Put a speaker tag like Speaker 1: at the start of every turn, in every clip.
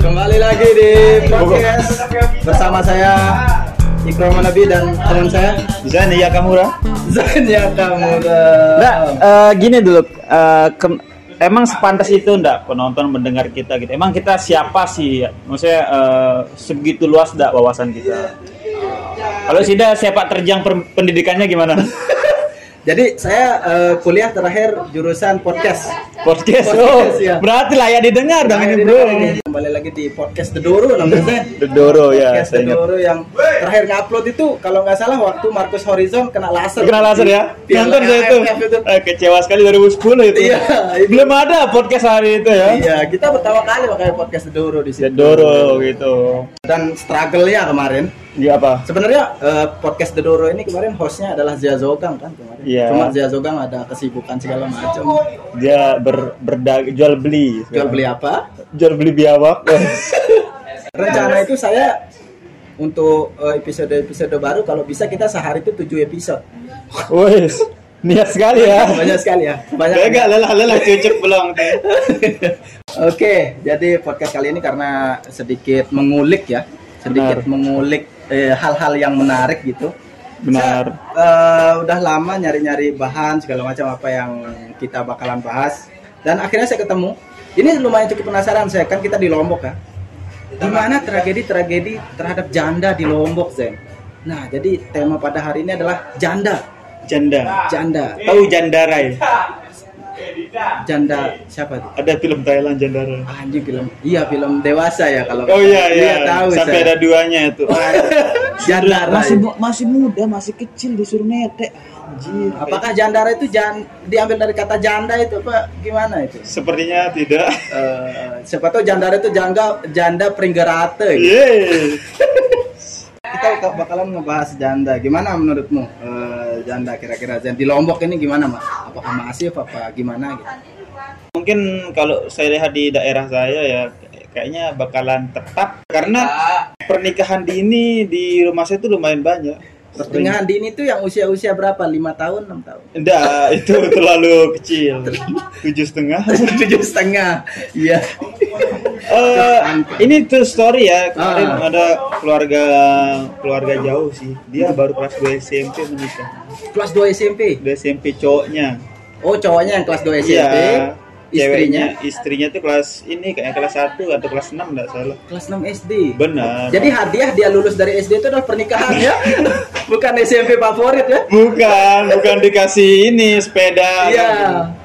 Speaker 1: lagi di
Speaker 2: Iya,
Speaker 1: podcast bersama saya Ikram Nabi dan teman saya
Speaker 2: Bisa nih ya kamu lah.
Speaker 1: Zain Yakamura.
Speaker 2: Nggak, eh, gini dulu. eh, kem- emang sepantas itu ndak penonton mendengar kita gitu. Emang kita siapa sih? Maksudnya eh, segitu luas ndak wawasan kita? Kalau Sida sepak terjang per- pendidikannya gimana?
Speaker 1: Jadi saya eh, kuliah terakhir jurusan podcast.
Speaker 2: Podcast. Oh,
Speaker 1: Podcast, ya.
Speaker 2: berarti layak didengar dong ini, Bro.
Speaker 1: Kembali lagi di podcast Dedoro namanya.
Speaker 2: Dedoro ya,
Speaker 1: Podcast
Speaker 2: saya ingat.
Speaker 1: Dedoro yang terakhir ngupload itu kalau nggak salah waktu Markus Horizon kena laser. Iya,
Speaker 2: Kenal laser ya?
Speaker 1: Di- di
Speaker 2: Nonton saya itu.
Speaker 1: LRF
Speaker 2: Eh, Kecewa sekali 2010 itu.
Speaker 1: Iya, itu.
Speaker 2: Belum ada podcast hari itu ya.
Speaker 1: Iya, kita pertama kali pakai podcast Dedoro di situ.
Speaker 2: Dedoro gitu.
Speaker 1: Dan struggle-nya kemarin.
Speaker 2: Iya apa?
Speaker 1: Sebenarnya eh, podcast Dedoro ini kemarin hostnya adalah Zia Zogang kan kemarin.
Speaker 2: Iya.
Speaker 1: Cuma Zia Zogang ada kesibukan segala macam.
Speaker 2: dia ber, berdag jual beli
Speaker 1: Jual beli apa?
Speaker 2: jual beli biawak
Speaker 1: Rencana itu saya untuk eh, episode-episode baru kalau bisa kita sehari itu 7 episode.
Speaker 2: wes niat sekali ya
Speaker 1: Banyak sekali ya. Banyak.
Speaker 2: Gak lelah lelah cucuk pulang
Speaker 1: Oke, jadi podcast kali ini karena sedikit mengulik ya, sedikit
Speaker 2: Benar.
Speaker 1: mengulik eh, hal-hal yang menarik gitu.
Speaker 2: benar
Speaker 1: Saya, eh, udah lama nyari-nyari bahan segala macam apa yang kita bakalan bahas dan akhirnya saya ketemu. Ini lumayan cukup penasaran saya kan kita di Lombok ya. Gimana tragedi-tragedi terhadap janda di Lombok, Zen? Nah, jadi tema pada hari ini adalah janda,
Speaker 2: janda
Speaker 1: janda,
Speaker 2: tahu jandarai
Speaker 1: janda siapa? tuh?
Speaker 2: ada film Thailand jandarai
Speaker 1: Anjing film, iya film dewasa ya kalau
Speaker 2: oh iya iya
Speaker 1: tahu
Speaker 2: sampai
Speaker 1: saya.
Speaker 2: ada duanya itu
Speaker 1: Jandara.
Speaker 2: masih muda masih kecil disuruh netek anjir
Speaker 1: Apakah jandara itu jan diambil dari kata janda itu apa gimana itu?
Speaker 2: sepertinya tidak
Speaker 1: Eh, siapa tahu jandara itu jangga janda peringgerate. gitu.
Speaker 2: Yeay.
Speaker 1: Kita bak- bakalan ngebahas janda. Gimana menurutmu eh, janda kira-kira Zen? di Lombok ini gimana mas? Apakah masif apa gimana gitu?
Speaker 2: mungkin kalau saya lihat di daerah saya ya kayaknya bakalan tetap karena pernikahan dini di rumah saya itu lumayan banyak
Speaker 1: Pertengahan dini itu yang usia-usia berapa? 5 tahun, 6 tahun?
Speaker 2: enggak itu terlalu kecil tujuh setengah
Speaker 1: Tujuh setengah. Iya.
Speaker 2: Eh, ini tuh story ya kemarin
Speaker 1: Ah.
Speaker 2: ada keluarga keluarga jauh sih dia baru kelas 2 SMP menikah
Speaker 1: Kelas 2 SMP.
Speaker 2: 2 SMP cowoknya Iya,
Speaker 1: Oh cowoknya yang kelas 2 SMP. Istrinya
Speaker 2: ceweknya istrinya tuh kelas ini kayaknya kelas 1 atau kelas 6 enggak salah
Speaker 1: kelas 6 SD.
Speaker 2: benar
Speaker 1: Jadi hadiah dia lulus dari SD itu adalah pernikahan ya, bukan SMP favorit ya.
Speaker 2: Bukan, bukan dikasih ini sepeda,
Speaker 1: Iya.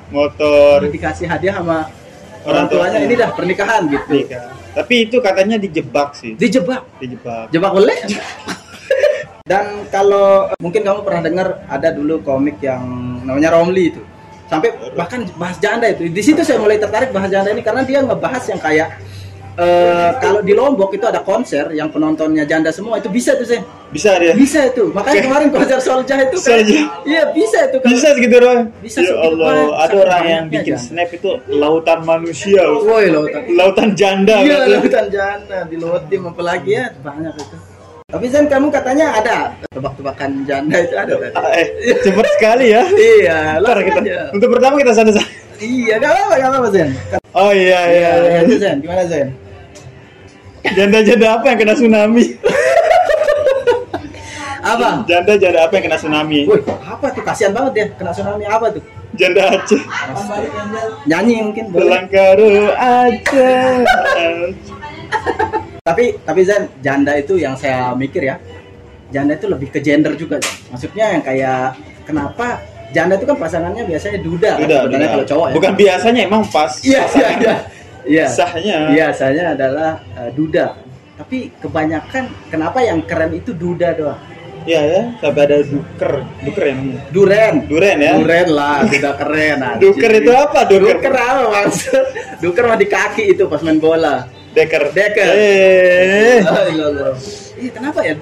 Speaker 2: motor,
Speaker 1: Dikasih hadiah sama orang
Speaker 2: Orang Iya.
Speaker 1: tuanya
Speaker 2: tuanya.
Speaker 1: ini dah pernikahan gitu.
Speaker 2: nikah. Tapi itu katanya dijebak sih,
Speaker 1: Dijebak,
Speaker 2: dijebak.
Speaker 1: jebak oleh. Dan kalau mungkin kamu pernah dengar ada dulu komik yang namanya Romli itu. Sampai bahkan bahas janda itu. Di situ saya mulai tertarik bahas janda ini karena dia ngebahas yang kayak eh, kalau di Lombok itu ada konser yang penontonnya janda semua itu bisa tuh sih
Speaker 2: Bisa dia,
Speaker 1: bisa itu makanya kemarin konser Soljah itu kan
Speaker 2: Soljah.
Speaker 1: iya bisa itu kan
Speaker 2: bisa segitu doang.
Speaker 1: Bisa
Speaker 2: ya
Speaker 1: segitu doang.
Speaker 2: Allah, ada
Speaker 1: Saking
Speaker 2: orang yang
Speaker 1: banyaknya
Speaker 2: bikin
Speaker 1: aja.
Speaker 2: snap itu lautan manusia,
Speaker 1: Woi lautan.
Speaker 2: lautan janda.
Speaker 1: Iya
Speaker 2: gitu.
Speaker 1: lautan janda di Lotim apalagi ya banyak itu. Tapi Zan kamu katanya ada tebak-tebakan janda itu ada tadi.
Speaker 2: Ah, Eh, cepet sekali ya.
Speaker 1: Iya,
Speaker 2: Ntar
Speaker 1: langsung
Speaker 2: kita,
Speaker 1: aja.
Speaker 2: untuk pertama kita sana sana.
Speaker 1: Iya, gak apa-apa, gak apa-apa Zen.
Speaker 2: Oh iya iya.
Speaker 1: Iya,
Speaker 2: iya.
Speaker 1: lanjut, Zen, gimana Zen?
Speaker 2: Janda-janda apa yang kena tsunami?
Speaker 1: Apa?
Speaker 2: Janda-janda apa yang kena tsunami?
Speaker 1: Woi, apa tuh kasihan banget ya kena tsunami apa tuh?
Speaker 2: Janda Aceh.
Speaker 1: Nyanyi mungkin boleh.
Speaker 2: Belangkaru Aceh.
Speaker 1: Tapi tapi Zen, janda itu yang saya mikir ya. Janda itu lebih ke gender juga. Zen. Maksudnya yang kayak kenapa janda itu kan pasangannya biasanya duda, kan,
Speaker 2: Udah,
Speaker 1: sebenarnya
Speaker 2: udah.
Speaker 1: kalau cowok ya.
Speaker 2: Bukan biasanya emang pas.
Speaker 1: Iya, iya,
Speaker 2: pasangan
Speaker 1: iya. Iya.
Speaker 2: Sahnya.
Speaker 1: Biasanya adalah eh, duda. Tapi kebanyakan kenapa yang keren itu duda doang?
Speaker 2: Iya ya, sampai ada duker, duker ya namanya.
Speaker 1: Duren.
Speaker 2: Duren ya.
Speaker 1: Duren lah, duda keren. anjing.
Speaker 2: Duker itu apa? Duker.
Speaker 1: Duker apa maksud? Duker mah di kaki itu pas main bola.
Speaker 2: Deker.
Speaker 1: Deker.
Speaker 2: Eh.
Speaker 1: Ah, iya, iya. Ih, kenapa ya?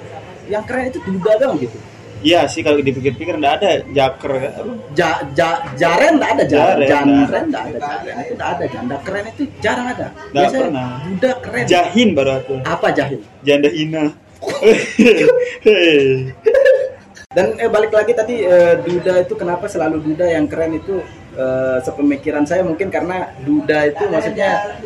Speaker 1: Yang keren itu duda doang gitu.
Speaker 2: Iya sih kalau dipikir-pikir enggak ada jaker. Apa?
Speaker 1: Ja, ja, jaren nggak ada jaren,
Speaker 2: Jaren, nah.
Speaker 1: jaren nggak ada jaren itu nggak ada janda keren itu jarang ada.
Speaker 2: Nggak pernah.
Speaker 1: duda keren.
Speaker 2: Jahin baru aku.
Speaker 1: apa jahil?
Speaker 2: Janda hina. Hei.
Speaker 1: Dan eh, balik lagi tadi eh, Duda itu kenapa selalu Duda yang keren itu eh, sepemikiran saya mungkin karena Duda itu maksudnya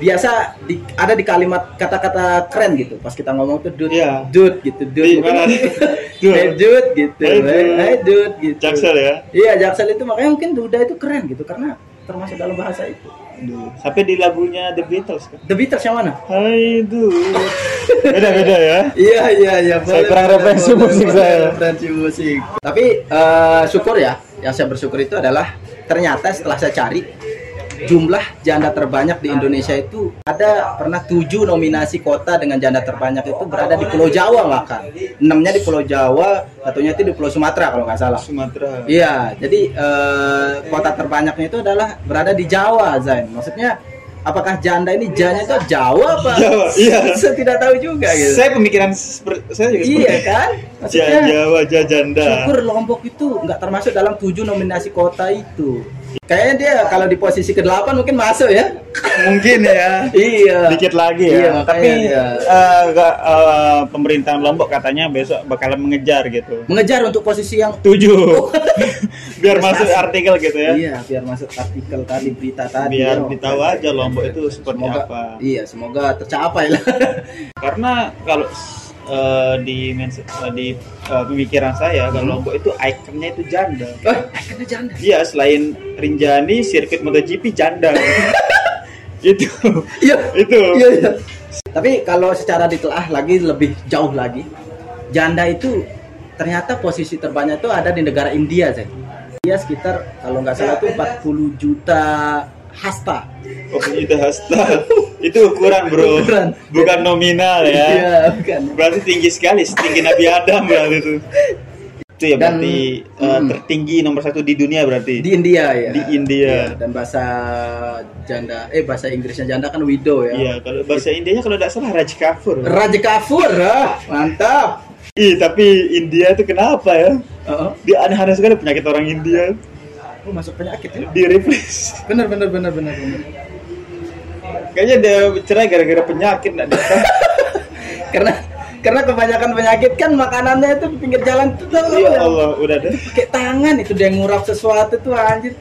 Speaker 1: biasa di- ada di kalimat kata-kata keren gitu pas kita ngomong tuh dude
Speaker 3: Iya.
Speaker 1: dude gitu
Speaker 3: Di
Speaker 1: dude
Speaker 3: mana? Dude.
Speaker 1: hey dude gitu
Speaker 3: Hey, dude.
Speaker 1: hey dude gitu
Speaker 3: Jaksel ya.
Speaker 1: iya jaksel itu makanya mungkin duda itu keren gitu karena termasuk dalam bahasa itu
Speaker 3: Sampai di lagunya The Beatles kan.
Speaker 1: The Beatles yang mana
Speaker 3: Hai dude. Beda-beda ya.
Speaker 1: Iya iya iya.
Speaker 2: Saya
Speaker 1: boleh,
Speaker 2: kurang
Speaker 1: boleh,
Speaker 2: referensi
Speaker 1: boleh,
Speaker 2: musik
Speaker 1: boleh,
Speaker 2: saya.
Speaker 1: Referensi musik. Tapi eh, syukur ya, yang saya bersyukur itu adalah ternyata setelah saya cari jumlah janda terbanyak di Indonesia itu ada pernah tujuh nominasi kota dengan janda terbanyak itu berada di Pulau Jawa bahkan enamnya di Pulau Jawa satunya itu di Pulau Sumatera kalau nggak salah
Speaker 3: Sumatera.
Speaker 1: Iya, jadi eh, kota terbanyaknya itu adalah berada di Jawa, Zain. Maksudnya apakah janda ini janya itu Jawa apa?
Speaker 3: Jawa, iya.
Speaker 1: Saya tidak tahu juga gitu.
Speaker 3: Saya pemikiran seperti saya juga
Speaker 1: iya kan?
Speaker 3: seperti Ja-
Speaker 1: Maksudnya
Speaker 2: iya.
Speaker 3: Jawa Jajanda.
Speaker 1: syukur Lombok itu nggak termasuk dalam tujuh nominasi kota itu. Kayaknya dia kalau di posisi ke-8 mungkin masuk ya.
Speaker 3: Mungkin ya.
Speaker 1: iya.
Speaker 2: dikit lagi
Speaker 1: Iya,
Speaker 2: ya.
Speaker 1: makanya,
Speaker 2: Tapi
Speaker 1: iya.
Speaker 2: eh, ga- eh, pemerintahan Lombok katanya besok bakalan mengejar gitu.
Speaker 1: Mengejar untuk posisi yang Oh.
Speaker 2: Tujuh. Biar masuk artikel gitu ya.
Speaker 1: Iya, biar masuk artikel tadi berita tadi.
Speaker 2: Biar
Speaker 1: Iya.
Speaker 2: ditahu aja Lombok itu seperti
Speaker 1: Semoga,
Speaker 2: apa.
Speaker 1: Iya, semoga tercapai lah.
Speaker 2: Karena kalau eh, di mens- eh, di eh, pemikiran saya
Speaker 1: Hmm.
Speaker 2: kalau Lombok itu ikonnya itu janda.
Speaker 1: Eh, akhirnya janda.
Speaker 2: Iya, selain Rinjani, sirkuit MotoGP janda. Gitu. itu.
Speaker 1: Iya.
Speaker 2: Itu.
Speaker 1: Iya, iya. Tapi kalau secara ditelah lagi lebih jauh lagi, janda itu ternyata posisi terbanyak itu ada di negara India, Zek. India sekitar kalau nggak salah itu 40 juta hasta.
Speaker 2: Oh, itu hasta. itu ukuran, Bro.
Speaker 1: Ukuran.
Speaker 2: Bukan nominal ya.
Speaker 1: Iya, bukan.
Speaker 2: Berarti tinggi sekali, setinggi Nabi Adam berarti itu. Itu ya
Speaker 1: Dan-
Speaker 2: berarti eh,
Speaker 1: mm.
Speaker 2: tertinggi nomor satu di dunia berarti.
Speaker 1: Di India ya.
Speaker 2: Di India.
Speaker 1: Iya, dan bahasa janda eh bahasa Inggrisnya janda kan widow ya.
Speaker 2: Iya, kalau bahasa Indianya kalau tidak salah Raj Kafur.
Speaker 1: Raja Kafur, ah, mantap.
Speaker 2: Ih, tapi India itu kenapa ya?
Speaker 1: Oh,
Speaker 2: Dia aneh-aneh sekali penyakit orang India
Speaker 1: oh, masuk penyakit ya.
Speaker 2: di replace.
Speaker 1: Bener bener bener bener bener.
Speaker 2: Kayaknya dia cerai gara-gara penyakit enggak dia.
Speaker 1: karena karena kebanyakan penyakit kan makanannya itu di pinggir jalan itu tuh
Speaker 2: ya Allah, udah deh.
Speaker 1: pakai tangan itu dia ngurap sesuatu tuh anjir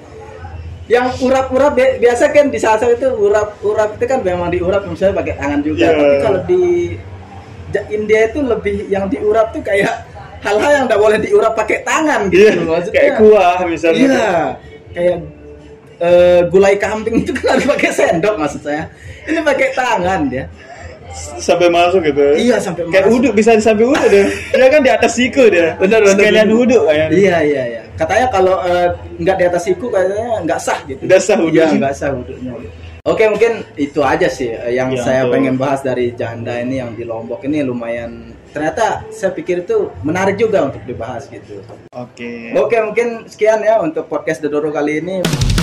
Speaker 1: yang urap-urap bi- biasa kan di saat itu urap-urap itu kan memang diurap misalnya pakai tangan juga
Speaker 2: Iya.
Speaker 1: tapi kalau di Ja- India itu lebih yang diurap tuh kayak hal-hal yang tidak boleh diurap pakai tangan gitu
Speaker 2: Iya,
Speaker 1: maksudnya
Speaker 2: kayak kuah misalnya.
Speaker 1: Iya, kayak eh, gulai kambing itu kan harus pakai sendok maksud saya ini pakai tangan ya. dia
Speaker 2: sampai masuk gitu.
Speaker 1: Iya, sampai
Speaker 2: Kayak
Speaker 1: masuk.
Speaker 2: uduk bisa sampai uduk deh. Dia kan di atas siku dia.
Speaker 1: Benar, benar,
Speaker 2: Sekalian
Speaker 1: benar.
Speaker 2: uduk kan. kayaknya.
Speaker 1: Iya iya iya. Katanya kalau eh, nggak di atas siku katanya nggak sah gitu.
Speaker 2: Nggak sah wudhu.
Speaker 1: Iya nggak sah wudhunya. gitu. Oke mungkin itu aja sih eh, yang
Speaker 2: Iya,
Speaker 1: saya
Speaker 2: betul.
Speaker 1: pengen bahas dari janda ini yang di Lombok ini lumayan ternyata saya pikir itu menarik juga untuk dibahas gitu.
Speaker 2: Oke.
Speaker 1: Oke mungkin sekian ya untuk podcast Dodoro kali ini.